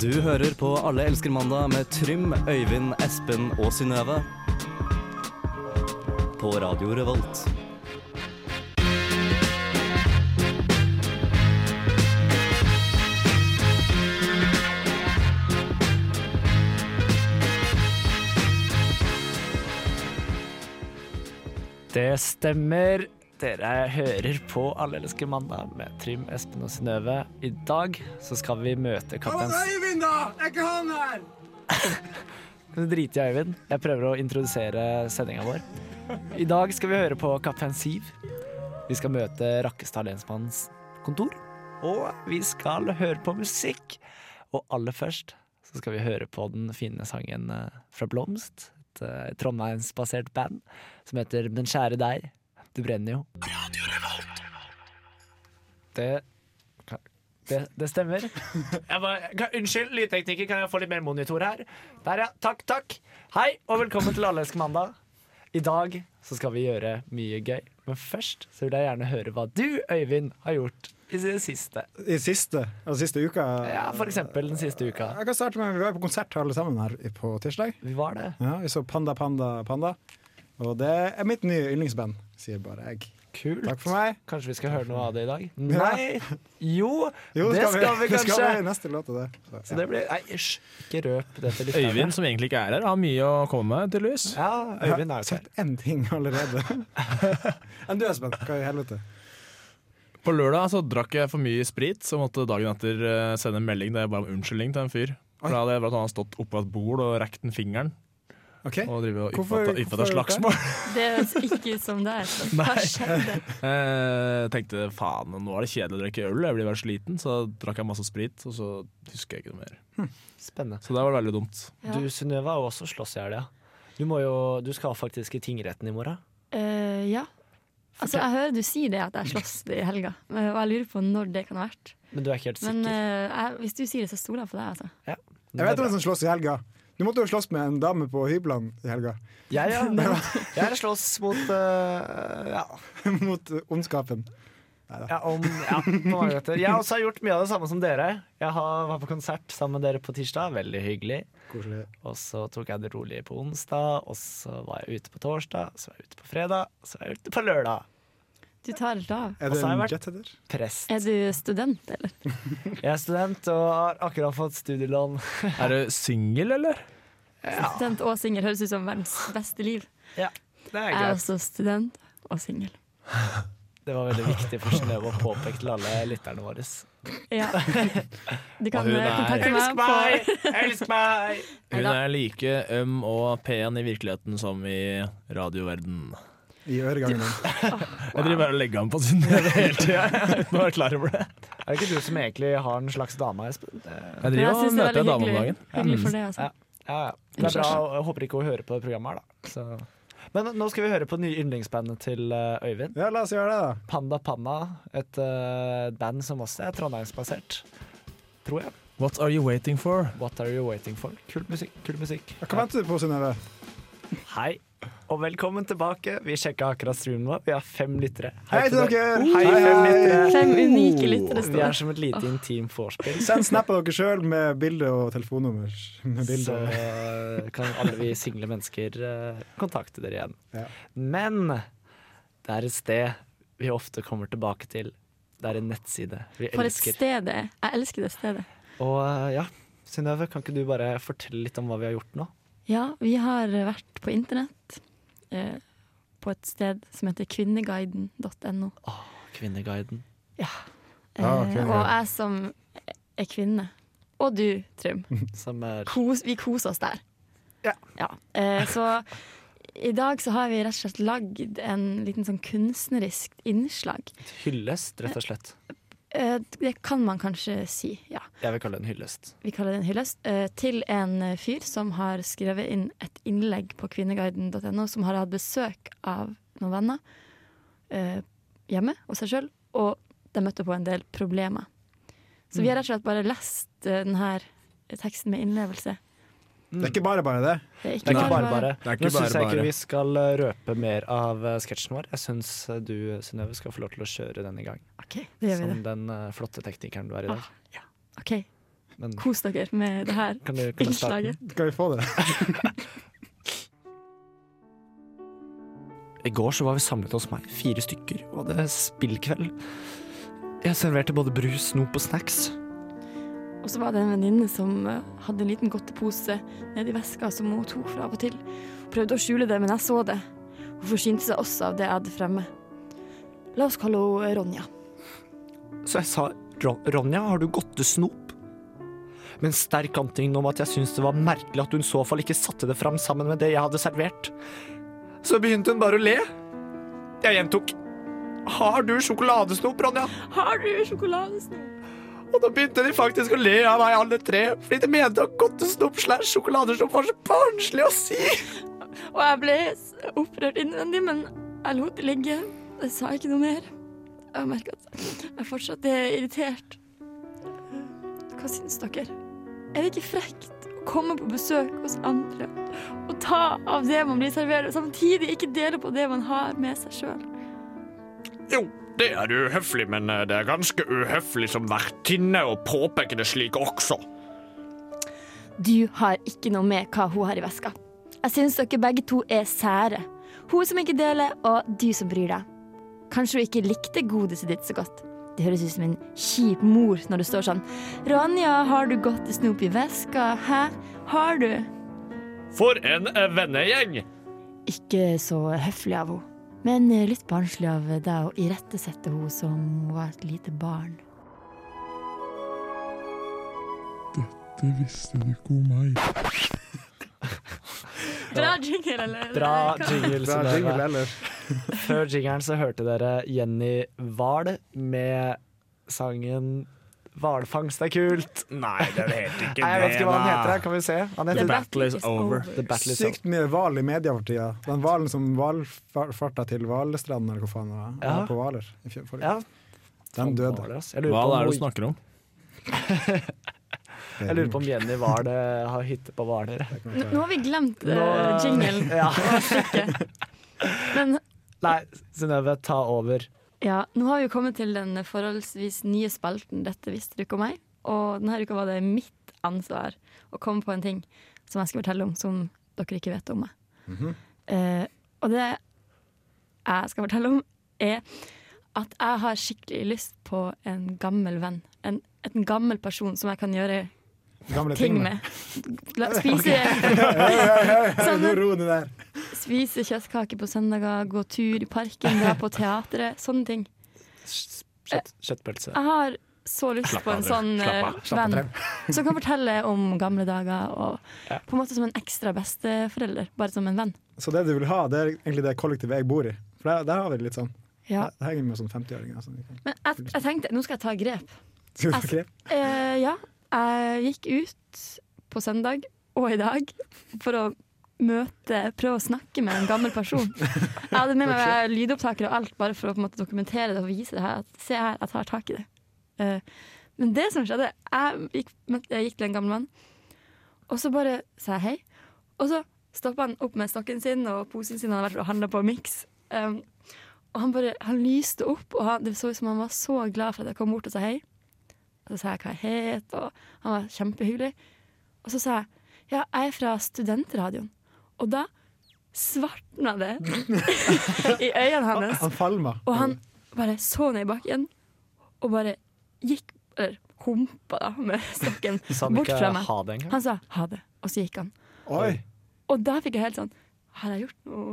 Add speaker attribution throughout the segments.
Speaker 1: Du hører på Alle elsker mandag med Trym, Øyvind, Espen og Synnøve. På Radio Revolt.
Speaker 2: Det stemmer. Dere hører på Alle elsker mandag med Trym, Espen og Synnøve. I dag så skal vi møte kaptein
Speaker 3: Øyvind, da! Er ikke han her?
Speaker 2: Det driter jeg i, Øyvind. Jeg prøver å introdusere sendinga vår. I dag skal vi høre på Kaptein Siv. Vi skal møte Rakkestad lensmanns kontor. Og vi skal høre på musikk. Og aller først så skal vi høre på den fine sangen eh, fra Blomst. Et eh, trondheimsbasert band som heter Den kjære deg. Du brenner jo. Det det, det stemmer. Jeg bare, kan, unnskyld, lydtekniker, kan jeg få litt mer monitor her? Der, ja. Takk, takk. Hei, og velkommen til Alle elsker mandag. I dag så skal vi gjøre mye gøy, men først så vil jeg gjerne høre hva du, Øyvind, har gjort i det siste.
Speaker 3: I siste, altså siste uka
Speaker 2: Ja, For eksempel den siste uka.
Speaker 3: Jeg kan starte med Vi var på konsert alle sammen her i- på tirsdag.
Speaker 2: Vi var det.
Speaker 3: Ja, vi så Panda, Panda, Panda. Og det er mitt nye yndlingsband, sier bare jeg.
Speaker 2: Kult.
Speaker 3: Takk for meg.
Speaker 2: Kanskje vi skal høre noe av det i dag? Nei! Jo,
Speaker 3: Jo,
Speaker 2: det skal vi,
Speaker 3: det
Speaker 2: kanskje.
Speaker 3: Skal vi, neste låt og det. Så,
Speaker 2: Så
Speaker 3: ja.
Speaker 2: det blir Nei, hysj. Ikke røp det til lytterne.
Speaker 4: Øyvind, som egentlig ikke er her, har mye å komme med, tydeligvis.
Speaker 2: Ja, Øyvind er
Speaker 3: Jeg
Speaker 2: jo
Speaker 3: har
Speaker 2: ikke her.
Speaker 3: sagt én ting allerede. Enn du, Espen? Hva i helvete?
Speaker 4: På lørdag så drakk jeg for mye sprit, så måtte dagen etter eh, sende en melding der jeg ba om unnskyldning til en fyr. For da hadde jeg blant annet stått oppå et bord og rekt den fingeren
Speaker 3: OK?
Speaker 4: og drive og
Speaker 3: Hvorfor-
Speaker 4: yppet- yppet et
Speaker 3: hvorfor har du
Speaker 4: slagsmål.
Speaker 5: Det høres ikke ut som det er. Så Hva
Speaker 4: Nei.
Speaker 5: skjedde?
Speaker 4: Jeg tenkte faen, nå er det kjedelig å drikke øl, jeg blir bare sliten. Så drakk jeg masse sprit, og så husker jeg ikke noe mer.
Speaker 2: Spennende.
Speaker 4: Så det var veldig dumt.
Speaker 5: Ja.
Speaker 2: Du, Synnøve, har jo også slåss i helga. Du, må jo, du skal faktisk i tingretten i morgen.
Speaker 5: Eh, ja. Altså, jeg hører du sier det at jeg slåss i helga, eh, og jeg lurer på når det kan ha vært.
Speaker 2: Men du er ikke helt sikker.
Speaker 5: Men eh, jeg, hvis du sier det, så stoler jeg på deg. Altså.
Speaker 2: ja.
Speaker 3: Jeg vet om hvem som slåss i helga. Du måtte jo slåss med en dame på hyblene i helga.
Speaker 2: Jeg, ja. jeg er slåss mot eh, ja,
Speaker 3: Mot eh, ondskapen.
Speaker 2: ja, om, ja, på mange måter. Jeg også har gjort mye av det samme som dere. Jeg har, var på konsert sammen med dere på tirsdag. Veldig hyggelig.
Speaker 3: Koselig.
Speaker 2: Og så tok jeg det rolig på onsdag, og så var jeg ute på torsdag, så var jeg ute på fredag, så var jeg ute på lørdag.
Speaker 5: Du tar helt av.
Speaker 3: Er
Speaker 2: Og
Speaker 3: det
Speaker 2: så har Altså,
Speaker 3: en
Speaker 2: jeg vært-
Speaker 3: jetheader?
Speaker 2: Prest.
Speaker 5: Er du student, eller?
Speaker 2: Jeg er student og har akkurat fått studielån.
Speaker 4: Er du singel, eller?
Speaker 5: Student og singel høres ut som verdens beste liv.
Speaker 2: Ja, det er
Speaker 5: Jeg er
Speaker 2: greit.
Speaker 5: også student og singel.
Speaker 2: Det var veldig viktig for Synnøve å påpeke til alle lytterne våre.
Speaker 5: Ja. Du kan
Speaker 4: Og hun
Speaker 5: eh,
Speaker 4: er-
Speaker 5: kontakte meg på
Speaker 2: Elsk meg!
Speaker 4: Hun
Speaker 5: Neida.
Speaker 4: er like øm og pen i virkeligheten som i radioverden.
Speaker 3: I øregangen min.
Speaker 4: Jeg driver bare og legger an på Synnøve hele tida. Jeg må være klar over det.
Speaker 2: Er det ikke du som egentlig har en slags dame, Espen?
Speaker 4: Jeg
Speaker 5: Men
Speaker 4: driver
Speaker 5: jeg
Speaker 4: og
Speaker 5: synes det er
Speaker 4: møter en
Speaker 5: veldig
Speaker 4: dame om
Speaker 5: hyggelig.
Speaker 4: dagen.
Speaker 5: hyggelig for det, altså.
Speaker 2: Ja. Ja, ja. Det er bra. og Jeg håper ikke hun hører på det programmet her, da. Så. Men nå skal vi høre på det nye yndlingsbandet til eh, Øyvind.
Speaker 3: Ja, la oss gjøre det, da.
Speaker 2: Panda Panna. Et eh, band som også er trondheimsbasert. Tror jeg.
Speaker 4: What are you waiting for?
Speaker 2: What Are You Waiting For? Kul musikk. Kul musikk.
Speaker 3: Hva venter du på, Synnøve?
Speaker 2: Hei, og velkommen tilbake. Vi sjekka akkurat streamen vår. Vi har fem lyttere.
Speaker 3: Hei til dere!
Speaker 2: Hei, fem lyttere.
Speaker 5: Fem unike lyttere
Speaker 2: Mm. Vi er
Speaker 5: står.
Speaker 2: som et lite intim vorspiel.
Speaker 3: Send snap av dere sjøl med bilde og telefonnummer. Med
Speaker 2: så
Speaker 3: bilde.
Speaker 2: eh, kan alle vi single mennesker eh, kontakte dere igjen.
Speaker 3: Ja.
Speaker 2: Men det er et sted vi ofte kommer tilbake til. Det er en nettside vi
Speaker 5: For et
Speaker 2: elsker.
Speaker 5: sted det er. Jeg elsker det stedet.
Speaker 2: Og eh, ja, Synnøve, kan ikke du bare fortelle litt om hva vi har gjort nå?
Speaker 5: Ja, vi har vært på internett eh, på et sted som heter kvinneguiden.no.
Speaker 2: Kvinneguiden.
Speaker 5: Eh,
Speaker 3: Ah, ok.
Speaker 5: og jeg som er kvinne, og du, Trym,
Speaker 2: Som er
Speaker 5: kos, vi koser oss der.
Speaker 2: Ja.
Speaker 5: Eh, så i dag så har vi rett og slett lagd en liten sånn kunstnerisk innslag.
Speaker 2: et hyllest, rett og slett.
Speaker 5: Eh, det kan man kanskje si, ja.
Speaker 2: Jeg vil kalle det en hyllest.
Speaker 5: vi kaller det en hyllest, eh, til en eh, fyr som har skrevet inn et innlegg på kvinneguiden.no, som har hatt besøk av noen venner eh, hjemme hos seg sjøl, og de møtte på en del problemer. Så vi har rett og slett bare lest eh, den her teksten med innlevelse.
Speaker 3: Det er ikke bare bare det.
Speaker 5: Det er
Speaker 2: Det er
Speaker 5: ikke
Speaker 2: ikke bare bare.
Speaker 4: Det er ikke
Speaker 2: Nå syns
Speaker 4: bare
Speaker 2: jeg ikke
Speaker 4: bare.
Speaker 2: vi skal eh, røpe mer av eh, sketsjen vår. Jeg syns du, Synnøve, skal få lov til å kjøre den i gang.
Speaker 5: OK, det Ah. gjør vi
Speaker 2: Som
Speaker 5: det.
Speaker 2: den eh, flotte teknikeren du er i dag.
Speaker 5: OK.
Speaker 2: Men
Speaker 5: Kos dere med det her
Speaker 2: kan du, kan du starte?
Speaker 5: innslaget.
Speaker 3: Skal vi få det?
Speaker 2: I går så var vi samlet hos meg, fire stykker, og hadde spillkveld. Jeg serverte både brus, snop og snacks.
Speaker 5: Og så var det en venninne som eh, hadde en liten godtepose nedi veska som hun tok fra av og til. Hun prøvde å skjule det, men jeg så det. Hun forsynte seg også av det jeg hadde fremme. La oss kalle henne Ronja.
Speaker 2: Så jeg sa "Ron- Ronja, har du godtesnop? Med en sterk antydning om at jeg syntes det var merkelig at hun i så fall ikke satte det fram sammen med det jeg hadde servert. Så begynte hun bare å le. Jeg gjentok. Har du sjokoladesnop, Ronja?
Speaker 5: Har du sjokoladesnop?
Speaker 2: Og da begynte de faktisk å le av meg alle tre, fordi de mente at godtesnop slash sjokoladesnop var så barnslig å si.
Speaker 5: Og jeg ble s- opprørt innvendig, men jeg lot det ligge. Jeg sa ikke noe mer. Jeg merker at jeg fortsatt er irritert. Hva syns dere? Er det ikke frekt å komme på besøk hos andre og ta av det man blir servert, og samtidig ikke dele på det man har med seg sjøl?
Speaker 6: Jo, det er uhøflig, men eh, det er ganske uhøflig som vertinne å påpeke det slik også.
Speaker 5: Du har ikke noe med hva hun har i veska. Jeg syns dere begge to er sære. Hun som ikke deler, og du som bryr deg. Kanskje hun ikke likte godiset ditt så godt. Det høres ut som en kjip mor når det står sånn. Ronja, har du godt snop i veska? Hæ? Har du?
Speaker 6: For en eh, vennegjeng!
Speaker 5: Ikke så høflig av henne. Men litt barnslig av deg å irettesette henne som hun var et lite barn.
Speaker 7: Det visste du ikke om meg.
Speaker 5: Bra jingle, eller?
Speaker 2: Bra jingle,
Speaker 3: Bra jingle
Speaker 2: Synnøve.
Speaker 3: ellers.
Speaker 2: Før jingeren så hørte dere Jenny Wahl med sangen 'Hvalfangst er kult'.
Speaker 4: Nei, det er det helt ikke.
Speaker 2: Nei, jeg vet ikke hva han heter. her. Kan vi se? Han
Speaker 4: The
Speaker 2: heter
Speaker 4: battle is over.
Speaker 2: The Battle is Over.
Speaker 3: Sykt mye hval i media for tida. Den hvalen som hvalfarta til Valestrand, eller hva faen det var,
Speaker 2: Ja.
Speaker 3: på Hvaler i fjor- forrige
Speaker 2: Ja,
Speaker 3: Den døde.
Speaker 2: Wahl, ass. Jeg lurer
Speaker 4: Hva
Speaker 2: på om
Speaker 4: er det
Speaker 2: hun-
Speaker 4: du snakker om?
Speaker 2: Jeg lurer på om Jenny Wahl eh, har hytte på Hvaler.
Speaker 5: Nå, nå har vi glemt uh,
Speaker 2: Nå-
Speaker 5: jinglen.
Speaker 2: Ja.
Speaker 5: Men
Speaker 2: Nei, Synnøve, ta over.
Speaker 5: ja, nå har vi jo kommet til den forholdsvis nye spalten Dette visste du ikke om meg. Og denne uka var det mitt ansvar å komme på en ting som jeg skal fortelle om som dere ikke vet om meg. Eh, og det jeg skal fortelle om, er at jeg har skikkelig lyst på en gammel venn. En, en gammel person som jeg kan gjøre
Speaker 3: Gamle
Speaker 5: ting med. La, spise Sånn en-
Speaker 3: Ro ned der.
Speaker 5: Spise kjøttkake på søndager, gå tur i parken, dra på teatret. Sånne ting.
Speaker 2: Kjøtt,
Speaker 5: Eh,
Speaker 2: kjøttpølse.
Speaker 5: Jeg har så lyst på en sånn eh, venn som kan fortelle om gamle dager. Og på en måte som en ekstra besteforelder, bare som en venn.
Speaker 3: Så det du vil ha, det er egentlig det kollektivet jeg bor i. For der, der har vi det litt sånn.
Speaker 5: Ja.
Speaker 3: Det henger med sånn 50-åringer. Sånn.
Speaker 5: Men jeg, jeg tenkte, nå skal jeg ta grep.
Speaker 3: Skal vi
Speaker 5: Altså-
Speaker 3: få klipp?
Speaker 5: Eh, ja, jeg gikk ut på søndag og i dag for å møte, prøve å snakke med en gammel person. Jeg hadde med meg lydopptaker og alt bare for å på en måte dokumentere det og vise det her. At, se her, jeg tar tak i det. Eh, men det som skjedde, jeg gikk, møtte- jeg gikk til en gammel mann, og så bare sa jeg hei. Og så stoppa han opp med stokken sin og posen sin han hadde vært og handla på Mix. Um, og han bare, han lyste opp, og han, det så ut som han var så glad for at jeg kom bort og sa hei. Og så sa jeg hva jeg het, og han var kjempehyggelig. Og så sa jeg ja, jeg er fra studentradioen. Og da svartna det i øynene hans.
Speaker 3: Han falma.
Speaker 5: Og han bare så ned i bakken, og bare gikk, eller humpa da, med stokken
Speaker 2: Sa han
Speaker 5: bort
Speaker 2: ikke
Speaker 5: fra meg.
Speaker 2: ha det engang?
Speaker 5: Han sa ha det, og så gikk han.
Speaker 3: Oi!
Speaker 5: Og da fikk jeg helt sånn Har jeg gjort noe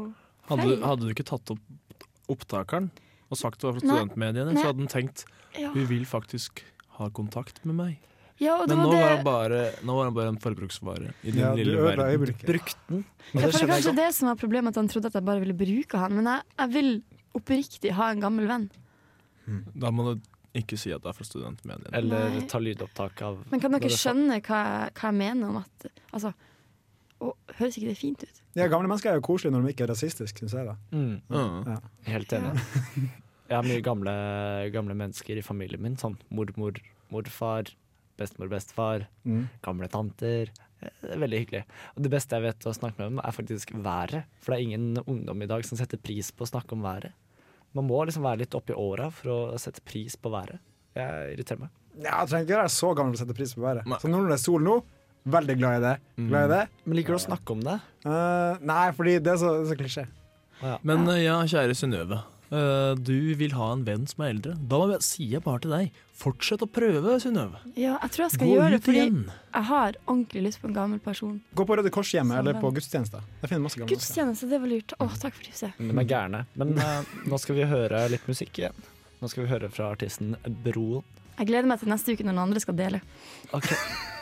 Speaker 4: Hadde,
Speaker 5: Hei.
Speaker 4: du- hadde du ikke tatt opp opptakeren og sagt det var fra
Speaker 5: Nei.
Speaker 4: studentmediene,
Speaker 5: Nei.
Speaker 4: så hadde hun tenkt
Speaker 5: Ja,
Speaker 4: hun vil faktisk ha kontakt med meg.
Speaker 5: ja og det
Speaker 4: Men nå
Speaker 5: var
Speaker 4: var, han
Speaker 5: det
Speaker 4: bare, nå var han bare en forbruksvare i den
Speaker 3: Ja, du
Speaker 4: lille
Speaker 3: ødela
Speaker 4: verden.
Speaker 3: øyeblikket.
Speaker 2: Brukte den.
Speaker 5: Ja,
Speaker 2: Og det
Speaker 5: for det er
Speaker 2: skjønner jeg
Speaker 5: kanskje
Speaker 2: godt.
Speaker 5: det som var problemet, at han trodde at jeg bare ville bruke han. Men jeg, jeg vil oppriktig ha en gammel venn.
Speaker 4: Da må du ikke si at det er fra studentmediene.
Speaker 2: Eller
Speaker 5: Nei.
Speaker 2: ta lydopptak av
Speaker 5: Men kan
Speaker 2: når
Speaker 5: dere
Speaker 2: det-
Speaker 5: skjønne hva, jeg- hva jeg mener om at Altså, å, høres ikke det fint ut?
Speaker 3: Ja, gamle mennesker er jo koselige når de ikke er rasistiske, syns jeg. da
Speaker 2: Mm.
Speaker 4: Mm.
Speaker 2: Helt enig. Jeg har mye gamle, gamle mennesker i familien min. Sånn mormor, morfar, bestemor, bestefar,
Speaker 3: Mm.
Speaker 2: gamle tanter. Eh, Det er veldig hyggelig. Og det beste jeg vet å snakke med dem, er faktisk været. For det er ingen ungdom i dag som setter pris på å snakke om været. Man må liksom være litt oppi åra for å sette pris på været. Jeg irriterer meg.
Speaker 3: Ja, jeg trenger ikke være så gammel for å sette pris på været.
Speaker 4: Nei. Mm.
Speaker 3: Så nå når det er sol nå, veldig glad i det. Glad i det.
Speaker 8: Men liker du å snakke om det?
Speaker 3: Eh, nei, fordi det er så, det er så klisjé.
Speaker 4: Men eh, ja, kjære Synnøve. eh, Du vil ha en venn som er eldre. Da må jeg- sier jeg bare til deg, fortsett å prøve, Synnøve.
Speaker 5: Ja, jeg tror jeg skal
Speaker 4: Gå
Speaker 5: gjøre det,
Speaker 4: ut
Speaker 5: fordi
Speaker 4: igjen.
Speaker 5: jeg har ordentlig lyst på en gammel person.
Speaker 3: Gå på Røde Kors-hjemmet
Speaker 5: Sånn
Speaker 3: eller på
Speaker 5: den.
Speaker 3: gudstjenester. Det finner masse gamle mennesker.
Speaker 5: Gudstjeneste, det var lurt. Å, takk for tipset.
Speaker 8: De er gærne. Men eh, nå skal vi høre litt musikk igjen. Nå skal vi høre fra artisten Broen.
Speaker 5: Jeg gleder meg til neste uke når noen andre skal dele.
Speaker 8: Okay.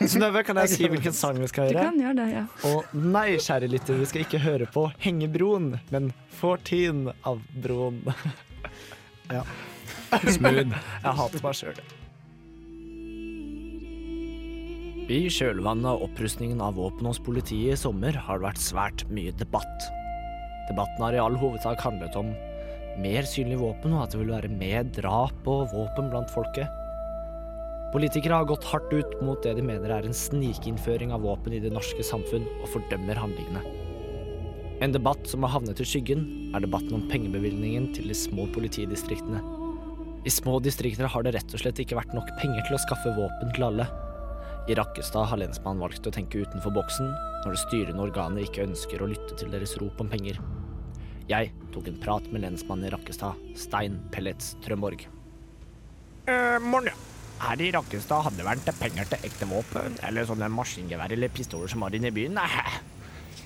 Speaker 8: Synnøve, kan jeg si hvilken sang vi skal
Speaker 5: Du
Speaker 8: høre?
Speaker 5: kan gjøre det, ja.
Speaker 8: Og nei, kjære lytter, vi skal ikke høre på Hengebroen, men 14 av Broen. Ja. Smooth. Jeg hater meg sjøl.
Speaker 2: I kjølvannet av opprustningen av våpen hos politiet i sommer har det vært svært mye debatt. Debatten har i all hovedsak handlet om mer synlige våpen og at det vil være mer drap og våpen blant folket. Politikere har gått hardt ut mot det de mener er en snikinnføring av våpen i det norske samfunn, og fordømmer handlingene. En debatt som har havnet i skyggen, er debatten om pengebevilgningen til de små politidistriktene. I små distrikter har det rett og slett ikke vært nok penger til å skaffe våpen til alle. I Rakkestad har lensmannen valgt å tenke utenfor boksen når det styrende organet ikke ønsker å lytte til deres rop om penger. Jeg tok en prat med lensmannen i Rakkestad, Stein Pellets Trømborg.
Speaker 9: Eh, morgen, ja. Her i Rakkestad hadde det vært penger til ekte våpen, eller sånne maskingevær eller pistoler som var inne i byen. Nei.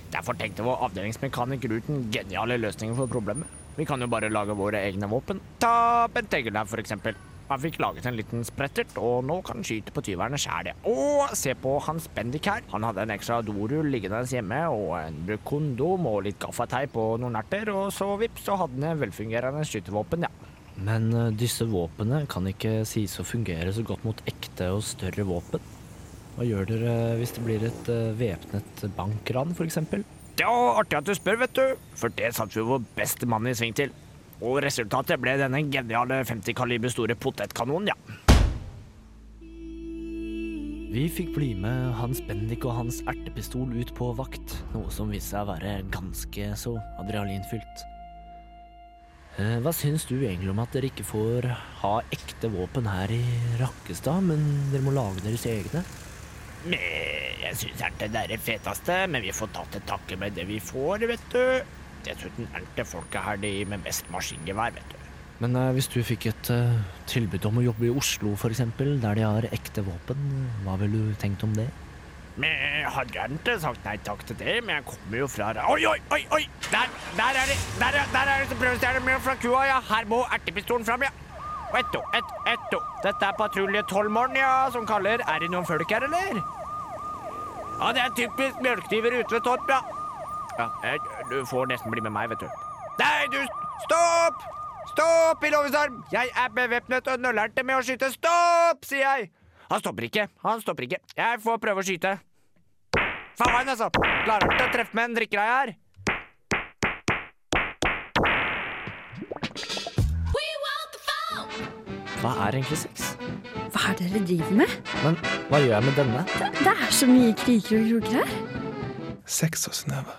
Speaker 9: Derfor tenkte vår avdelingsmekaniker ut den geniale løsningen for problemet. Vi kan jo bare lage våre egne våpen. Ta Bent Egil her, for eksempel. Han fikk laget en liten sprettert, og nå kan han skyte på tyverne sjæl. Og se på Hans Bendik her. Han hadde en ekstra dorull liggende hjemme, og en brukt kondom og litt gaffateip og noen erter, og så vips, så hadde han et velfungerende skytevåpen, ja.
Speaker 2: Men eh, disse våpnene kan ikke sies å fungere så godt mot ekte og større våpen. Hva gjør dere hvis det blir et eh, væpnet bankran, f.eks.?
Speaker 9: Det var artig at du spør, vet du. For det satte vi vår beste mann i sving til. Og resultatet ble denne geniale 50 kaliber store potetkanonen, ja.
Speaker 2: Vi fikk bli med Hans Bendik og hans ertepistol ut på vakt, noe som viste seg å være ganske så adrenalinfylt. Eh, Hva syns du egentlig om at dere ikke får ha ekte våpen her i Rakkestad, men dere må lage deres egne?
Speaker 9: Men Jeg syns ertet er det feteste, men vi får ta til takke med det vi får, vet du. Dessuten er det folket her de med mest maskingevær, vet du.
Speaker 2: Men eh, hvis du fikk et eh, tilbud om å jobbe i Oslo, f.eks., der de har ekte våpen, eh, hva ville du tenkt om det?
Speaker 9: Men hadde jeg ikke sagt nei takk til det, men jeg kommer jo fra Oi, oi, oi! oi! Der, der er det! Der, er- der er det som prøvestjerne med fra kua, ja! Her må ertepistolen fram, ja! Og Etto, ett, etto. Dette er patrulje 12 morgen, ja, som kaller. Er det noen folk her, eller? Ja, det er typisk mjølkdyver ute ved Torp, ja. Ja, eh, du får nesten bli med meg, vet du. Nei, du Stopp! Stopp i lovens arm! Jeg er bevæpnet og nøllerte med å skyte. Stopp, sier jeg! Han stopper ikke. Han stopper ikke. Jeg får prøve å skyte. Faen, altså! Klarer ikke å treffe med en drikkeleie her.
Speaker 8: Hva er egentlig sex?
Speaker 10: Hva er det dere driver med?
Speaker 8: Men hva gjør jeg med denne?
Speaker 10: Det er så mye kriker og kroker her.
Speaker 11: Sex og snøve.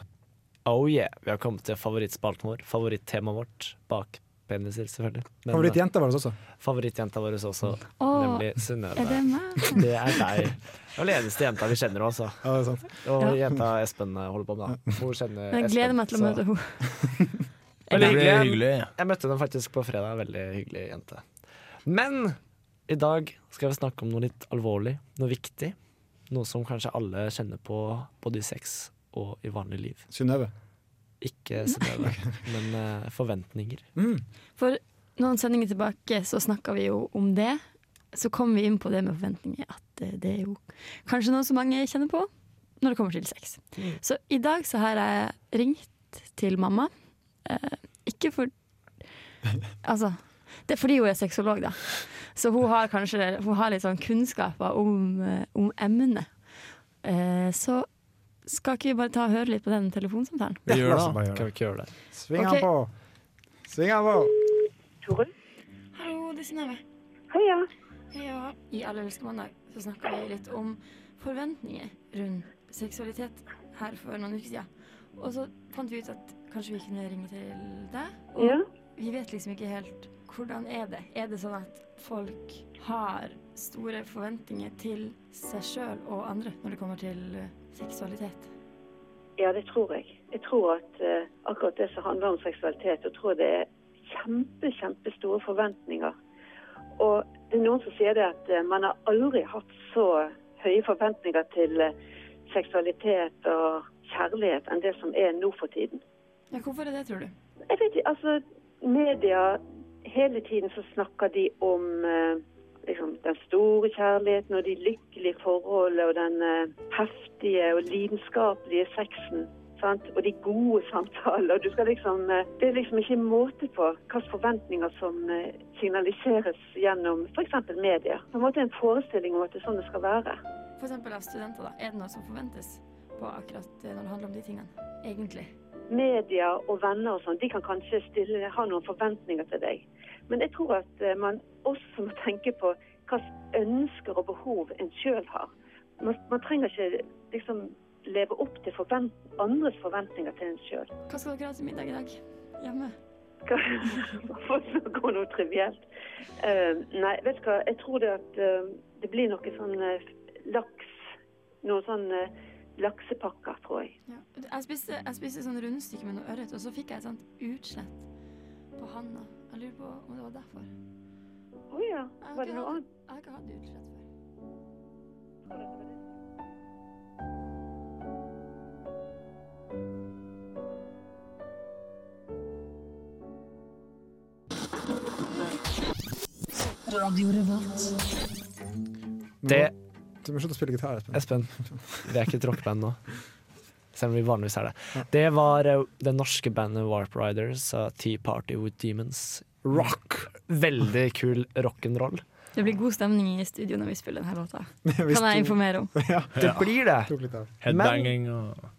Speaker 8: Oh yeah, vi har kommet til favorittspalten vår. Favorittemaet vårt. Bak peniser, selvfølgelig. Men, eh,
Speaker 3: Favorittjenta vår også.
Speaker 8: favorittjenta vår også,
Speaker 5: Å,
Speaker 8: nemlig Synnøve.
Speaker 5: er det meg?
Speaker 8: Det er deg. Det er den eneste jenta vi kjenner også.
Speaker 3: Ja, det er sant.
Speaker 8: Og
Speaker 5: Ja.
Speaker 8: jenta Espen eh, holder på med, da. Hun kjenner
Speaker 5: Jeg gleder meg til å
Speaker 8: så-
Speaker 5: møte henne.
Speaker 8: Veldig
Speaker 4: Det
Speaker 8: hyggelig.
Speaker 4: blir hyggelig.
Speaker 8: Jeg møtte henne faktisk på fredag. Veldig hyggelig jente. Men i dag skal vi snakke om noe litt alvorlig, noe viktig. Noe som kanskje alle kjenner på både i sex og i vanlig liv.
Speaker 3: Synnøve.
Speaker 8: Ikke Synnøve, men eh, forventninger.
Speaker 5: For noen sendinger tilbake så snakka vi jo om det. Så kom vi inn på det med forventninger, at eh, det er jo kanskje noe som mange kjenner på når det kommer til sex. Så i dag så har jeg ringt til mamma. Eh, ikke for Altså, det er fordi hun er sexolog, da. Så hun har kanskje hun har litt sånn kunnskaper om, eh, om emnet. Eh, så skal ikke vi bare ta og høre litt på den telefonsamtalen?
Speaker 4: Vi
Speaker 3: La oss
Speaker 4: gjør det.
Speaker 3: bare gjøre
Speaker 8: Kan vi ikke gjøre det?
Speaker 3: det. Sving han
Speaker 5: Ok.
Speaker 3: på! Sving han på!
Speaker 5: Hallo, det er Synnøve.
Speaker 12: Heia.
Speaker 5: Ja, i Alle elsker mandag så snakka vi litt om forventninger rundt seksualitet her for noen uker siden. Og så fant vi ut at kanskje vi kunne ringe til deg. Og
Speaker 12: Ja.
Speaker 5: vi vet liksom ikke helt hvordan er det. Er det sånn at folk har store forventninger til seg sjøl og andre når det kommer til eh, seksualitet.
Speaker 12: Ja, det tror jeg. Jeg tror at eh, akkurat det som handler om seksualitet, jeg tror det er kjempe, kjempestore forventninger. Og det er noen som sier det at eh, man har aldri hatt så høye forventninger til eh, seksualitet og kjærlighet enn det som er nå for tiden.
Speaker 5: Ja, hvorfor er det, tror du?
Speaker 12: Jeg vet ikke, altså media Hele tiden så snakker de om eh, liksom, den store kjærligheten og de lykkelige forholdene og den eh, heftige og lidenskapelige sexen. Sant? Og de gode samtaler. Du skal liksom, eh, det er liksom ikke måte på hvilke forventninger som eh, signaliseres gjennom f.eks. media. På en måte en forestilling om at det er sånn det skal være.
Speaker 5: For eksempel av studenter, da. Er det noe som forventes på akkurat eh, når det handler om de tingene? Egentlig.
Speaker 12: media og venner og sånn, de kan kanskje stille, ha noen forventninger til deg. Men jeg tror at eh, man også må tenke på hva slags ønsker og behov en sjøl har. Man, man trenger ikke liksom leve opp til forvent, andres forventninger til en sjøl.
Speaker 5: Hva skal dere ha til middag i dag? Hjemme?
Speaker 12: For å snakke om noe trivielt. Eh, nei, vet du hva, jeg tror det at eh, det blir noe sånn eh, laks, noen sånn eh, laksepakker, tror jeg.
Speaker 5: Ja. Jeg spiste, jeg spiste sånn rundstykke med noe ørret, og så fikk jeg et sånt utslett på handa. Jeg lurer på om det var derfor.
Speaker 12: Å ja. Var det noe annet?
Speaker 5: Jeg har ikke hatt utslett før.
Speaker 13: Radio Revolt.
Speaker 2: Det
Speaker 3: Du må slutte å spille gitar, Espen.
Speaker 2: Espen, vi er ikke et rockeband nå. Selv om vi vanligvis er det. Det var eh, det norske bandet Warp Riders
Speaker 8: eh,
Speaker 2: av Tea Party With Demons. Rock! Veldig kul rock'n'roll.
Speaker 5: Det blir god stemning i studio når vi spiller denne låta. Kan jeg informere om.
Speaker 2: Det blir det.
Speaker 4: Headbanging og
Speaker 2: Ja.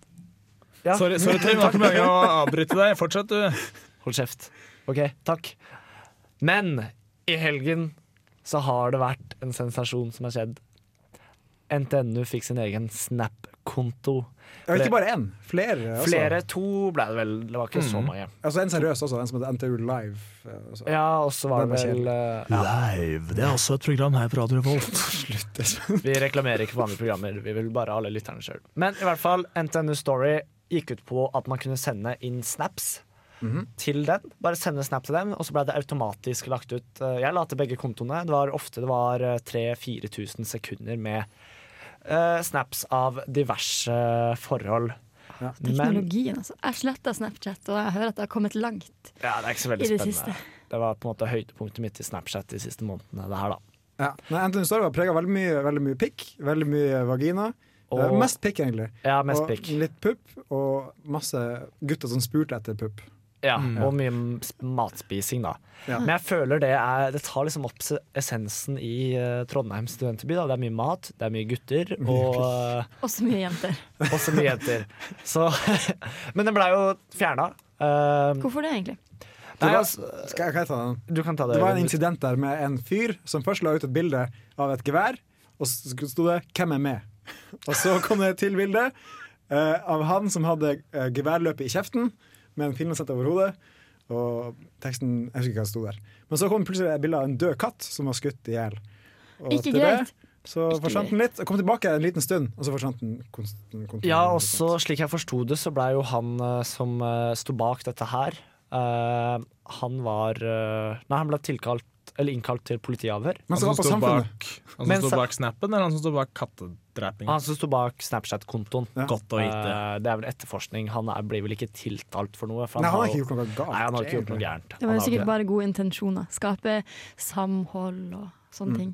Speaker 4: Ah, Sorry, sorry Tim, det var ikke meningen å avbryte deg. Fortsett, du.
Speaker 2: Hold kjeft. OK, takk. Men i helgen så har det vært en sensasjon som har skjedd. NTNU fikk sin egen Snap-konto.
Speaker 3: Ja, ikke bare én, flere. Også.
Speaker 2: Flere, to ble det vel. Det var ikke så
Speaker 3: Mm.
Speaker 2: mange.
Speaker 3: Altså En seriøs også, en som heter NTU Live. eh, Også.
Speaker 2: Ja, og så var
Speaker 3: Den
Speaker 2: det
Speaker 3: var
Speaker 2: vel eh, ja.
Speaker 4: Live. Det er også et program her på Radio Revolt. Slutt,
Speaker 2: Vi reklamerer ikke for andre programmer, vi vil bare ha alle lytterne sjøl. Men i hvert fall, NTNU Story gikk ut på at man kunne sende inn snaps
Speaker 5: Mhm.
Speaker 2: til den. Bare sende snap til dem, og så ble det automatisk lagt ut. Eh, Jeg la til begge kontoene. Det var ofte det var 3000-4000 sekunder med eh, snaps av diverse forhold. Men
Speaker 5: Teknologien, altså. Jeg sletta Snapchat, og jeg hører at det har kommet langt.
Speaker 2: ja, det er ikke så
Speaker 5: I
Speaker 2: veldig
Speaker 5: det
Speaker 2: spennende.
Speaker 5: siste.
Speaker 2: Det var på en måte høydepunktet mitt i Snapchat de siste månedene, det her, da.
Speaker 3: Ja. Nei, NTNU Story var prega av veldig mye, veldig mye pikk, veldig mye vagina.
Speaker 2: Og-
Speaker 3: Eh, mest pikk, egentlig.
Speaker 2: Ja, mest
Speaker 3: og
Speaker 2: pikk.
Speaker 3: litt pupp, og masse gutter som spurte etter pupp.
Speaker 2: Ja,
Speaker 3: Mm.
Speaker 2: og mye m- s- matspising, da.
Speaker 3: Ja.
Speaker 2: Men jeg føler det er Det tar liksom opp se- essensen i eh, Trondheim studentby. Da. Det er mye mat, det er mye gutter, og eh,
Speaker 5: Også mye jenter.
Speaker 2: også mye jenter. Så Men den blei jo fjerna. Eh,
Speaker 5: Hvorfor det, egentlig?
Speaker 3: Det
Speaker 2: Nei,
Speaker 3: var,
Speaker 2: altså,
Speaker 3: skal, jeg- kan jeg ta den?
Speaker 2: Du kan ta det,
Speaker 3: Det var en
Speaker 2: Øyvind.
Speaker 3: incident der med en fyr som først la ut et bilde av et gevær, og så sto det 'Hvem er med?' Og så kom det et til bilde eh, av han som hadde eh, geværløpet i kjeften, med en finlandshette over hodet, og teksten Jeg husker ikke hva det sto der. Men så kom plutselig et bilde av en død katt som var skutt i hjel. Og
Speaker 2: Ikke
Speaker 3: etter
Speaker 2: greit.
Speaker 3: Det, så
Speaker 2: Ikke
Speaker 3: forsvant den litt, og kom tilbake en liten stund, og så forsvant den konst- kontinuerlig.
Speaker 2: Ja, og så slik jeg forsto det, så blei jo han eh, som eh, sto bak dette her eh, Han var eh, Nei, han ble tilkalt eller innkalt til politiavhør.
Speaker 4: Han som står bak, han
Speaker 2: Men
Speaker 4: som
Speaker 2: sa-
Speaker 4: står bak snappen, eller han som står bak kattedrepingen?
Speaker 2: Han som sto bak Snapchat-kontoen.
Speaker 4: Godt å vite.
Speaker 2: Eh, det er vel etterforskning. Han er, blir vel ikke tiltalt for noe. For
Speaker 3: Nei, han har
Speaker 2: jo-
Speaker 3: ikke gjort noe galt,
Speaker 2: Nei, han har ikke gjort noe
Speaker 3: egentlig.
Speaker 2: gærent.
Speaker 5: Det var
Speaker 2: Han
Speaker 5: jo
Speaker 2: har
Speaker 5: sikkert
Speaker 2: ikke-
Speaker 5: bare gode intensjoner. Skape samhold og sånne ting.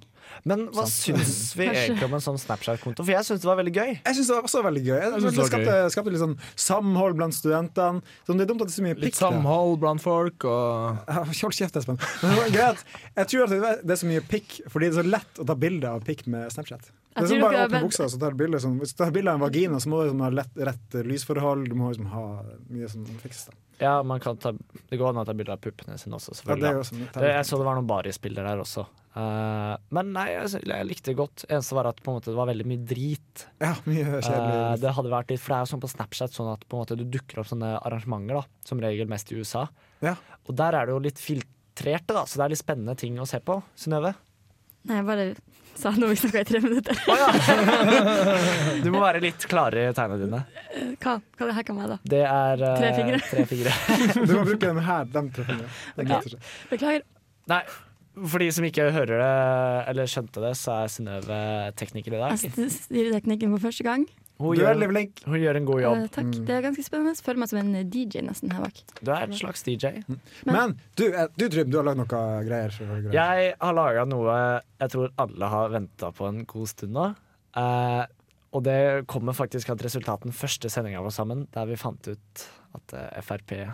Speaker 2: Men hva
Speaker 5: Sant.
Speaker 2: syns vi
Speaker 5: Kanskje.
Speaker 2: egentlig om en sånn Snapchat-konto? For jeg syns det var veldig gøy.
Speaker 3: Jeg syns det var også veldig gøy. Jeg synes det skapte, skapte litt sånn samhold blant studentene. Sånn, det er dumt at det er så mye pikk
Speaker 4: Litt
Speaker 3: der.
Speaker 4: samhold blant folk og
Speaker 3: Ja, Hold kjeft, Espen. Men det var greit. Jeg tror at det- det er så mye pikk fordi det er så lett å ta bilde av pikk med Snapchat. Det
Speaker 5: Jeg
Speaker 3: er sånn
Speaker 5: tror
Speaker 3: bare å
Speaker 5: dere er
Speaker 3: åpne
Speaker 5: veld-
Speaker 3: buksa, så tar du bilde sånn, Hvis du tar bilde av en vagina, så må du liksom ha lett, rett lysforhold, du må liksom ha mye som fikses. da.
Speaker 2: Ja, man kan ta, Det går an å ta bilde av puppene sine også,
Speaker 3: Ja, det er
Speaker 2: selvfølgelig.
Speaker 3: jo sånn- også
Speaker 2: da.
Speaker 3: mye-
Speaker 2: det, jeg så det var noen barisbilder der også. Eh, men nei, jeg, sy- jeg likte det godt. Eneste var at på en måte, det var veldig mye drit.
Speaker 3: Ja, mye
Speaker 2: Eh,
Speaker 3: kjedelig.
Speaker 2: det hadde vært litt, for det er jo sånn på Snapchat sånn at på en måte du dukker opp sånne arrangementer, da, som regel mest i USA. Og der er det jo litt filtrerte, da, så det er litt spennende ting å se på. Synnøve?
Speaker 5: Nei, jeg bare sa noe vi snakka i tre minutter.
Speaker 2: Du må være litt klarere i tegnene dine.
Speaker 5: Eh, Hva, hva det her kan være, da?
Speaker 2: Det er eh,
Speaker 5: Tre fingre.
Speaker 2: Tre fingre.
Speaker 3: Du må bruke den her, de tre fingrene. Det
Speaker 2: Ja.
Speaker 3: kutter seg.
Speaker 5: Beklager.
Speaker 2: Nei, for de som ikke hører det, eller skjønte det, så er Synnøve tekniker i
Speaker 5: Jeg
Speaker 2: dag.
Speaker 5: st- Altså, styrer teknikken for første gang.
Speaker 2: Hun
Speaker 3: Du er
Speaker 2: gjør,
Speaker 3: levelink.
Speaker 2: hun gjør en god jobb.
Speaker 5: Eh, takk. Det er ganske spennende. Jeg føler meg som en DJ nesten her bak.
Speaker 2: Du er en slags DJ.
Speaker 3: Men du, eh, du Trym, du har lagd noe greier. så greier.
Speaker 2: Jeg har laga noe jeg tror alle har venta på en god stund nå. Eh, og det kommer faktisk av et resultat den første sendinga vår sammen, der vi fant ut at eh, Frp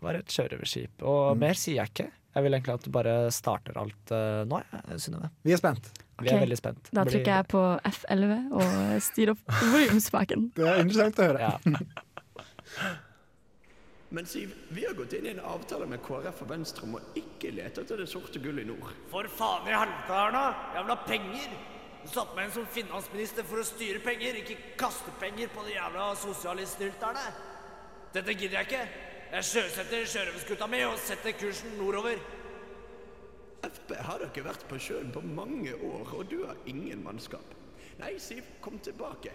Speaker 2: var et sjørøverskip. Og
Speaker 5: Mm.
Speaker 2: mer sier jeg ikke. Jeg vil egentlig at du bare starter alt eh, nå, jeg, Synnøve.
Speaker 3: Vi er spent.
Speaker 2: Vi er
Speaker 5: Ok,
Speaker 2: veldig spent.
Speaker 5: Da trykker jeg på F11 og eh, styrer opp volumspaken.
Speaker 3: Det er interessant å høre.
Speaker 14: Men Siv, vi har gått inn i en avtale med KrF og Venstre om å ikke lete etter det sorte gullet i nord.
Speaker 15: For faen i helvete, Erna! Jeg vil ha penger! Du satte meg inn som finansminister for å styre penger, ikke kaste penger på de jævla sosialiststyrterne. Dette gidder jeg ikke. Jeg sjøsetter sjørøverskuta mi og setter kursen nordover.
Speaker 14: Frp, har dere vært på sjøen på mange år, og du har ingen mannskap. Nei, Siv, kom tilbake.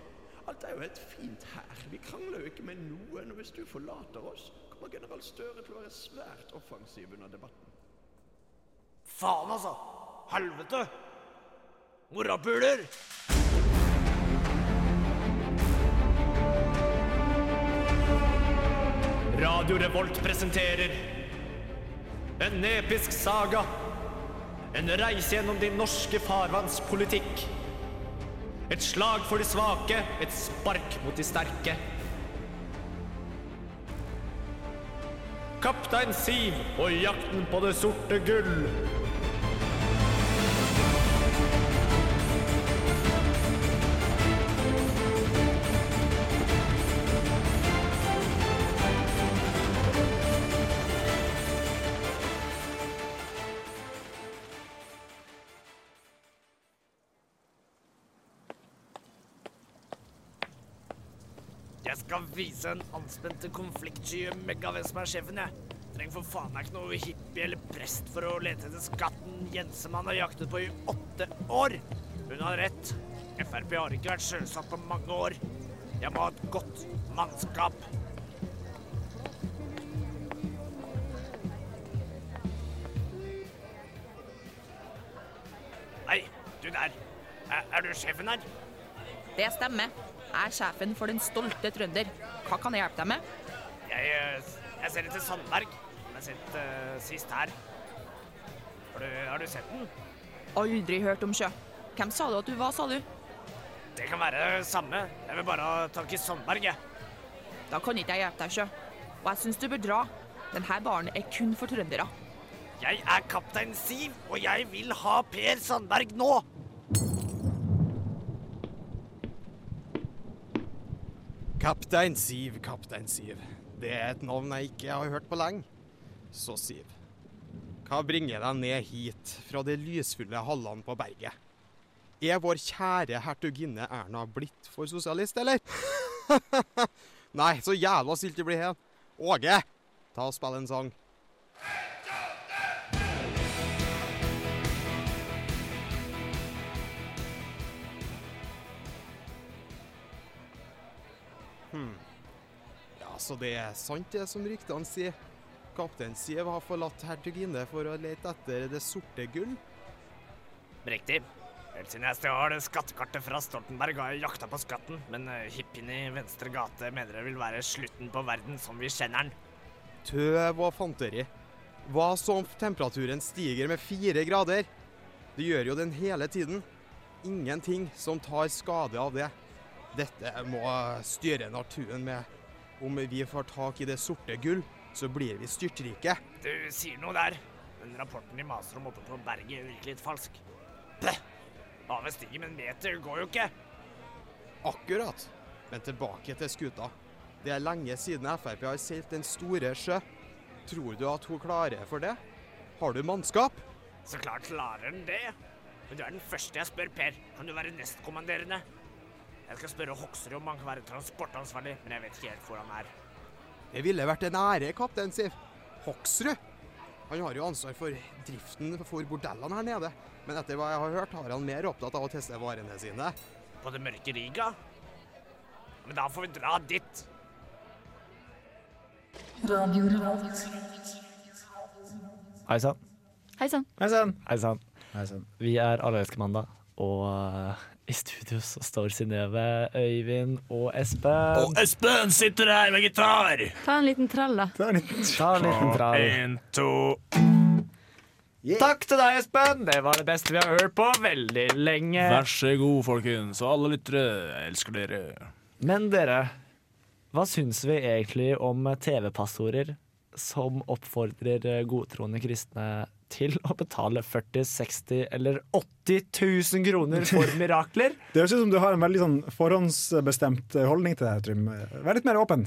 Speaker 14: Alt er jo helt fint her. Vi krangler jo ikke med noen, og hvis du forlater oss, kommer general Støre til å være svært offensiv under debatten.
Speaker 15: Faen, altså! Helvete! Morapuler!
Speaker 9: Radio Revolt presenterer En episk saga En reise gjennom din norske farvannspolitikk Et slag for de svake Et spark mot de sterke Kaptein Siv og jakten på det sorte gull
Speaker 15: Jeg skal vise den anspente, konfliktsky megavem som er sjefen, jeg. Trenger for faen meg ikke noe hippie eller prest for å lete etter skatten Jensemann har jaktet på i åtte år. Hun har rett. Frp har ikke vært sjøsatt på mange år. Jeg må ha et godt mannskap. Hei, du der. Er, er du sjefen her?
Speaker 16: Det stemmer. Jeg er sjefen for den stolte trønder. Hva kan jeg hjelpe deg med?
Speaker 15: Jeg, eh, jeg ser etter Sandberg, som jeg har sett eh, sist her. Har du, har du sett den?
Speaker 16: Aldri hørt om sjø. Hvem sa du at du var, sa du?
Speaker 15: Det kan være det samme. Jeg vil bare ha tak i Sandberg, jeg.
Speaker 16: Da kan ikke jeg hjelpe deg, sjø. Og jeg syns du bør dra. Denne baren er kun for trøndere.
Speaker 15: Jeg er kaptein Siv, og jeg vil ha Per Sandberg nå!
Speaker 17: Kaptein Siv, kaptein Siv. Det er et navn jeg ikke har hørt på lenge. Så, Siv, hva bringer deg ned hit fra de lysfulle hallene på berget? Er vår kjære hertuginne Erna blitt for sosialist, eller? Nei, så jævla sylt det blir her. Åge, ta og spill en sang. Hmm. Ja, så det er sant det som ryktene sier. Kaptein Siv har forlatt hertuginne for å lete etter det sorte gull.
Speaker 15: Riktig. Helt siden jeg stjal skattekartet fra Stoltenberg, har jeg jakta på skatten. Men eh, hippien i Venstre gate mener det vil være slutten på verden som vi kjenner den.
Speaker 17: Tøv og fanteri. Hva så om temperaturen stiger med fire grader? Det gjør jo den hele tiden. Ingenting som tar skade av det. Dette må styre naturen med. Om vi får tak i det sorte gull, så blir vi styrtrike.
Speaker 15: Du sier noe der. Den rapporten de maser om oppe på berget er virkelig litt falsk. Pøh! Havet stiger med en meter, går jo ikke.
Speaker 17: Akkurat. Men tilbake til skuta. Det er lenge siden Frp har seilt Den store sjø. Tror du at hun klarer for det? Har du mannskap?
Speaker 15: Så klart klarer den det. Men du er den første jeg spør, Per. Kan du være nestkommanderende? Jeg skal spørre Hoksrud om han kan være transportansvarlig, men jeg vet ikke helt hvor han er.
Speaker 17: Det ville vært en ære, kaptein Siv. Hoksrud? Han har jo ansvar for driften for bordellene her nede, men etter hva jeg har hørt, har han mer opptatt av å teste varene sine.
Speaker 15: På det mørke Riga? Men da får vi dra dit.
Speaker 13: Radio Revolt.
Speaker 2: Hei sann.
Speaker 5: Hei sann.
Speaker 3: Hei sann.
Speaker 2: Hei sann. Vi er Allerøyskemandag, og eh, i studio så står Synnøve, Øyvind og Espen.
Speaker 6: Og Espen sitter her med gitar!
Speaker 5: Ta en liten trall, da.
Speaker 3: Ta en liten,
Speaker 2: Ta en liten trall.
Speaker 6: En, to
Speaker 2: Takk til deg, Espen! Det var det beste vi har hørt på veldig lenge.
Speaker 4: Vær så god, folkens, og alle lyttere. Jeg elsker dere.
Speaker 2: Men dere, hva syns vi egentlig om TV-passorder som oppfordrer godtroende kristne til å betale 40 60 eller 80 000 kroner for mirakler?
Speaker 3: Det høres ut som du har en veldig sånn forhåndsbestemt eh, holdning til det her, Trym. Vær litt mer åpen.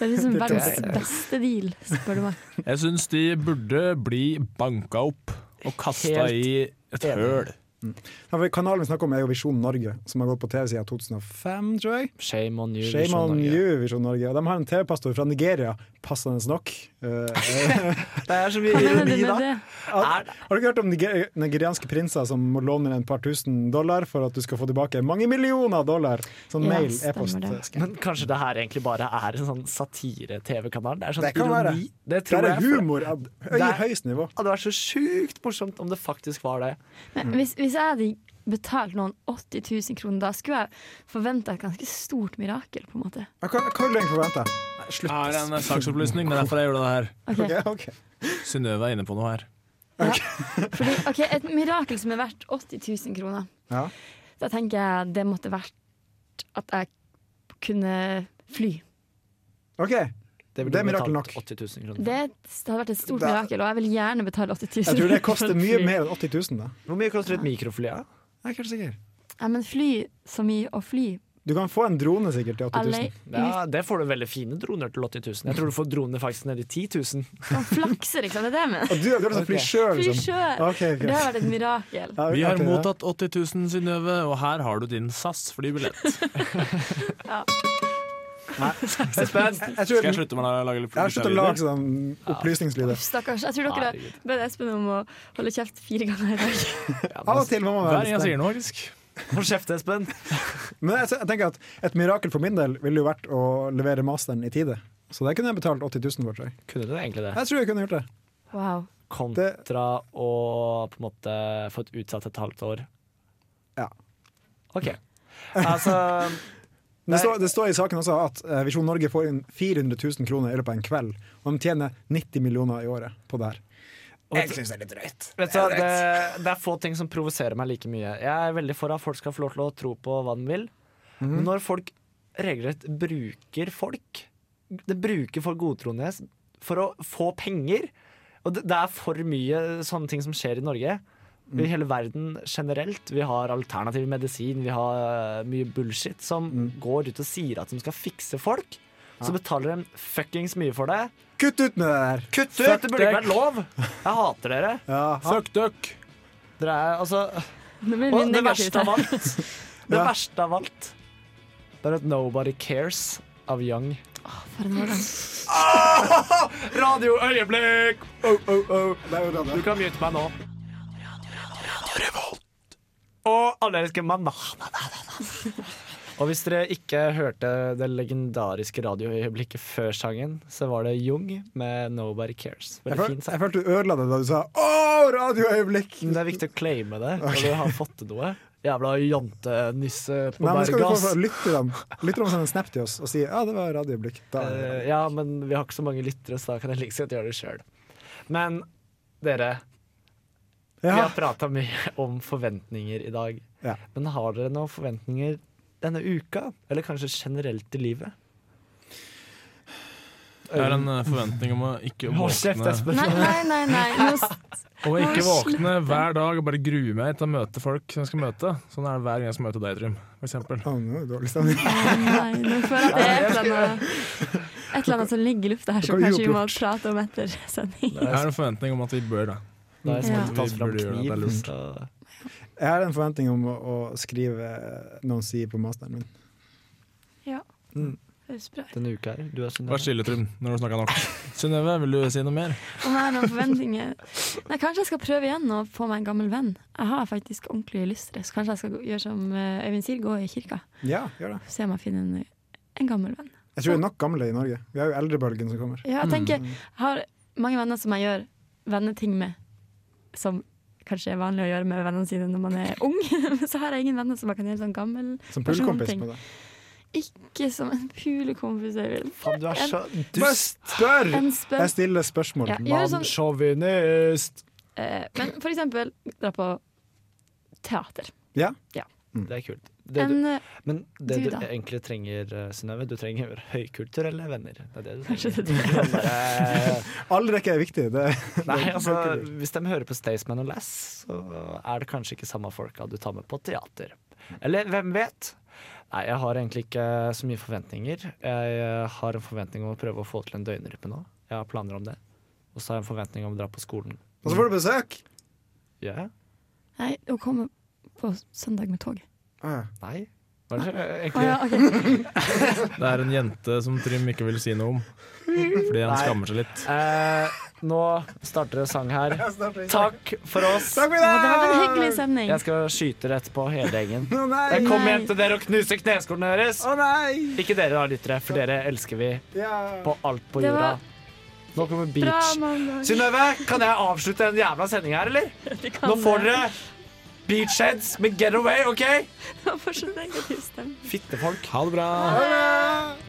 Speaker 5: Det er liksom
Speaker 3: Det tror
Speaker 5: verdens
Speaker 3: jeg.
Speaker 5: beste deal, spør du meg.
Speaker 4: Jeg syns de burde bli banka opp og kasta
Speaker 3: Helt
Speaker 4: i et
Speaker 3: enig.
Speaker 4: høl.
Speaker 3: Ja, for Kanalen vi snakker om, er jo Visjon Norge, som har gått på TV siden 2005, tror jeg.
Speaker 2: Shame on you,
Speaker 3: Shame
Speaker 2: Visjon
Speaker 3: on
Speaker 2: Norge.
Speaker 3: you, Visjon Norge. Og de har en TV-pastor fra Nigeria, passende nok. Eh,
Speaker 2: Det er så
Speaker 3: Hva
Speaker 2: mye
Speaker 3: mener du
Speaker 2: ironi,
Speaker 3: med
Speaker 2: da.
Speaker 3: Har har du ikke hørt om niger nigerianske prinser som må låne en par tusen dollar for at du skal få tilbake mange millioner dollar? Sånn
Speaker 2: Ja,
Speaker 3: mail,
Speaker 2: stemmer
Speaker 3: e-post.
Speaker 2: det. Men kanskje det her egentlig bare er en sånn satire-TV-kanal? Det er sånn
Speaker 3: Det kan være.
Speaker 2: ironi. Det, tror
Speaker 3: Det er
Speaker 2: jeg, for-
Speaker 3: humor av høy-
Speaker 2: Det er-
Speaker 3: høyest nivå.
Speaker 2: Det hadde vært så sjukt morsomt om det faktisk var det.
Speaker 5: Men hvis, hvis jeg hadde betalt noen 80 000 kroner, da skulle jeg forventa et ganske stort mirakel, på en måte.
Speaker 3: Hva hva vil du egentlig forvente? Slutt.
Speaker 4: Her er en eh, saksopplysning, det er derfor jeg gjorde det her.
Speaker 5: Ok.
Speaker 4: Synnøve er inne på noe her.
Speaker 5: Fordi, ok, Et mirakel som er verdt 80 000 kroner,
Speaker 3: Ja.
Speaker 5: da tenker jeg det måtte vært at jeg kunne fly.
Speaker 3: OK.
Speaker 2: Det,
Speaker 3: Det er mirakel
Speaker 2: betalt 80 000 kroner.
Speaker 5: Det, det hadde vært et stort
Speaker 3: Da-
Speaker 5: mirakel, og jeg vil gjerne betale 80 000.
Speaker 3: Jeg tror det
Speaker 5: kroner for
Speaker 3: koster
Speaker 5: et
Speaker 3: mye
Speaker 5: fly.
Speaker 3: mer enn 80 000, da.
Speaker 2: Hvor mye koster et mikrofly? Ja?
Speaker 3: Jeg er ikke helt sikker.
Speaker 5: Ja, men fly som i å fly.
Speaker 3: Du kan få en drone sikkert til 80 000.
Speaker 5: Alle-
Speaker 2: Ja, det får du veldig fine droner til 80 000. Jeg tror du får droner faktisk ned i 10 000.
Speaker 5: Man flakser, ikke sant? liksom. Det er det jeg
Speaker 3: Og
Speaker 5: mener.
Speaker 3: du, du har lyst til å fly
Speaker 2: Ok.
Speaker 3: sjøl,
Speaker 5: Fly
Speaker 3: liksom?
Speaker 5: sjøl!
Speaker 3: Ok, ok.
Speaker 5: Det hadde vært et mirakel.
Speaker 4: Vi har mottatt 80 000, Synnøve, og her har du din SAS-flybillett.
Speaker 3: Nei.
Speaker 4: Espen,
Speaker 3: Jeg- jeg tror-
Speaker 4: skal jeg slutte med å lage litt
Speaker 3: Jeg har sluttet å lage sånn opplysningslyder.
Speaker 5: Stakkars. Jeg tror dere
Speaker 3: Herregud.
Speaker 5: bød Espen om å holde kjeft fire ganger i dag.
Speaker 3: Av og til må man være
Speaker 4: Hver gang jeg sier noe, faktisk.
Speaker 2: Hold kjeft, Espen.
Speaker 3: Men jeg, jeg tenker at et mirakel for min del ville jo vært å levere masteren i tide. Så det kunne jeg betalt 80 000 for, tror jeg.
Speaker 2: Kunne du egentlig det?
Speaker 3: Jeg tror jeg kunne gjort det.
Speaker 5: Wow.
Speaker 2: Kontra å på en måte få et utsatt et halvt år.
Speaker 3: Ja.
Speaker 2: OK. Altså
Speaker 3: Det står, det står i saken også at eh, Visjon Norge får inn 400 000 kroner i løpet av en kveld, og de tjener 90 millioner i året på det her. Jeg synes det er litt drøyt.
Speaker 2: Vet du, hva, det, det er få ting som provoserer meg like mye. Jeg er veldig for at folk skal få lov til å tro på hva de vil. Men når folk regelrett bruker folk Det bruker folk godtroende for å få penger. Og det, det er for mye sånne ting som skjer i Norge. I hele verden generelt. Vi har alternativ medisin, vi har eh, mye bullshit som går ut og sier at de skal fikse folk. Så betaler de fuckings mye for det.
Speaker 3: Kutt ut med det der!
Speaker 2: Kutt ut!
Speaker 3: Fuck
Speaker 2: Det burde ikke
Speaker 3: dere.
Speaker 2: vært lov! Jeg hater dere.
Speaker 3: Fuck
Speaker 4: duck!
Speaker 2: Dere er altså
Speaker 5: blir det
Speaker 2: Og det
Speaker 5: negativt
Speaker 2: verste av
Speaker 5: her.
Speaker 2: alt Det verste av alt Det er at Nobody Cares av Young.
Speaker 5: For en morgen.
Speaker 2: Radioøyeblikk!
Speaker 3: Oh, oh, oh.
Speaker 2: Du kan mute meg nå. Og alle elsker mandag. Og hvis dere ikke hørte det legendariske radioøyeblikket før sangen, så var det Jung med Nobody Cares.
Speaker 3: Jeg,
Speaker 2: Veldig
Speaker 3: føl,
Speaker 2: fin sang.
Speaker 3: jeg følte du ødela det da du sa Å, radioøyeblikk!
Speaker 2: Men Mm, Det er viktig å claime det når du har fått til noe. Jævla jantenisse på
Speaker 3: Nei, men skal du få fra
Speaker 2: berget.
Speaker 3: lytterne Lytterne sender en snap til oss og sier ja, det var radioøyeblikk. Da er det
Speaker 2: Eh, ja, men vi har ikke så mange lyttere, så da kan jeg like så godt gjøre det sjøl. Men dere, vi har prata mye om forventninger i dag.
Speaker 3: Ja.
Speaker 2: Men har dere noen forventninger denne uka? Eller kanskje generelt i livet?
Speaker 4: Jeg har en eh, forventning om å ikke
Speaker 2: Hold kjeft, Espen.
Speaker 4: våkne
Speaker 5: Nei, nei, nei. nei. Nå s-
Speaker 4: Og ikke
Speaker 5: Hold
Speaker 4: våkne hver dag og bare grue meg til å møte folk som jeg skal møte. Sånn er det hver gang jeg skal møte deg, Trym. For eksempel.
Speaker 3: Å, nå er det dårlig stemning.
Speaker 5: Nei, nå føler jeg at det er et eller annet Et eller annet som ligger i lufta her, som
Speaker 4: Dere har
Speaker 5: kanskje vi må
Speaker 4: uoppgjort.
Speaker 5: prate om etter sending.
Speaker 4: Jeg har en forventning om at vi bør det.
Speaker 2: Da er det
Speaker 5: Ja.
Speaker 2: som å ta
Speaker 4: Vi
Speaker 2: fram
Speaker 4: burde gjøre eh, det, det er
Speaker 2: kniv.
Speaker 4: lurt.
Speaker 2: så-
Speaker 3: Jeg har en forventning om å, å skrive noen sider på masteren min.
Speaker 5: Ja. Høres bra ut.
Speaker 2: denne uka her. Du er Synnøve.
Speaker 4: Vær stille, Trym, når du snakker nok. Synnøve, vil du si noe mer?
Speaker 5: Å nei, noen forventninger. Nei, kanskje jeg skal prøve igjen å få meg en gammel venn. Jeg har faktisk ordentlig lystre, så kanskje jeg skal gå- gjøre som eh, Øyvind sier, gå i kirka.
Speaker 3: Ja, gjør det.
Speaker 5: Se om jeg finner en, en gammel venn.
Speaker 3: Jeg tror vi er nok gamle i Norge. Vi har jo eldrebølgen som kommer.
Speaker 5: Ja, jeg
Speaker 2: Mm.
Speaker 5: tenker, jeg har mange venner som jeg gjør venneting med, som kanskje er vanlig å gjøre med vennene sine når man er ung. Men så har jeg ingen venner som jeg kan gjøre sånn gammel
Speaker 3: Som pulekompis
Speaker 5: personting.
Speaker 3: med deg.
Speaker 5: Ikke som en pulekompis, Øyvind.
Speaker 2: Faen, du er så
Speaker 3: Bare spør!
Speaker 5: En spør-
Speaker 3: Jeg stiller spørsmål.
Speaker 5: Ja, gjør sånn-
Speaker 2: Mannssjåvinist!
Speaker 5: Eh, men for eksempel dra på teater.
Speaker 3: Ja.
Speaker 5: Ja.
Speaker 2: Det er kult. Det
Speaker 5: En,
Speaker 2: du,
Speaker 5: eh,
Speaker 2: men det
Speaker 5: du
Speaker 2: du,
Speaker 5: da?
Speaker 2: egentlig trenger, eh, Synnøve, du trenger høykulturelle venner. Det er det du
Speaker 5: Kanskje
Speaker 2: trenger.
Speaker 5: det er det.
Speaker 2: Bare-
Speaker 3: Allrekke er viktig. Det,
Speaker 2: Nei, altså, hvis de hører på Staysman og Lass, så er det kanskje ikke samme folka du tar med på teater. Eller hvem vet? Nei, jeg har egentlig ikke så mye forventninger. Jeg har en forventning om å prøve å få til en døgnrytme nå. Jeg har planer om det. Og så har jeg en forventning om å dra på skolen.
Speaker 3: Og så får du besøk!
Speaker 2: Ja.
Speaker 5: Nei, å komme på søndag med tog.
Speaker 2: Nei. Hva er det
Speaker 5: Å
Speaker 2: egentlig?
Speaker 5: ja, ok.
Speaker 4: Det er en jente som Trym ikke vil si noe om. Fordi han
Speaker 2: Nei.
Speaker 4: skammer seg litt.
Speaker 2: Eh, nå starter det sang her.
Speaker 3: starter det sang.
Speaker 2: Takk for oss.
Speaker 3: Takk for i dag! Å, det har vært en hyggelig
Speaker 5: sending.
Speaker 2: Jeg skal skyte rett på hele gjengen.
Speaker 3: nei!
Speaker 2: Jeg kommer
Speaker 3: Nei.
Speaker 2: hjem til dere og knuser kneskålene deres.
Speaker 3: Å nei!
Speaker 2: Ikke dere da, lyttere, for dere elsker vi
Speaker 3: Ja.
Speaker 2: på alt på
Speaker 3: Det
Speaker 2: jorda.
Speaker 3: var
Speaker 2: Nå kommer
Speaker 3: bra,
Speaker 2: beach.
Speaker 3: mandag.
Speaker 2: Synnøve, kan jeg avslutte den jævla sendinga her, eller? Nå får dere beachheads med getaway, OK?
Speaker 5: Jeg får så negativ stemme.
Speaker 2: Fittefolk. Ha det bra.
Speaker 5: Ha det!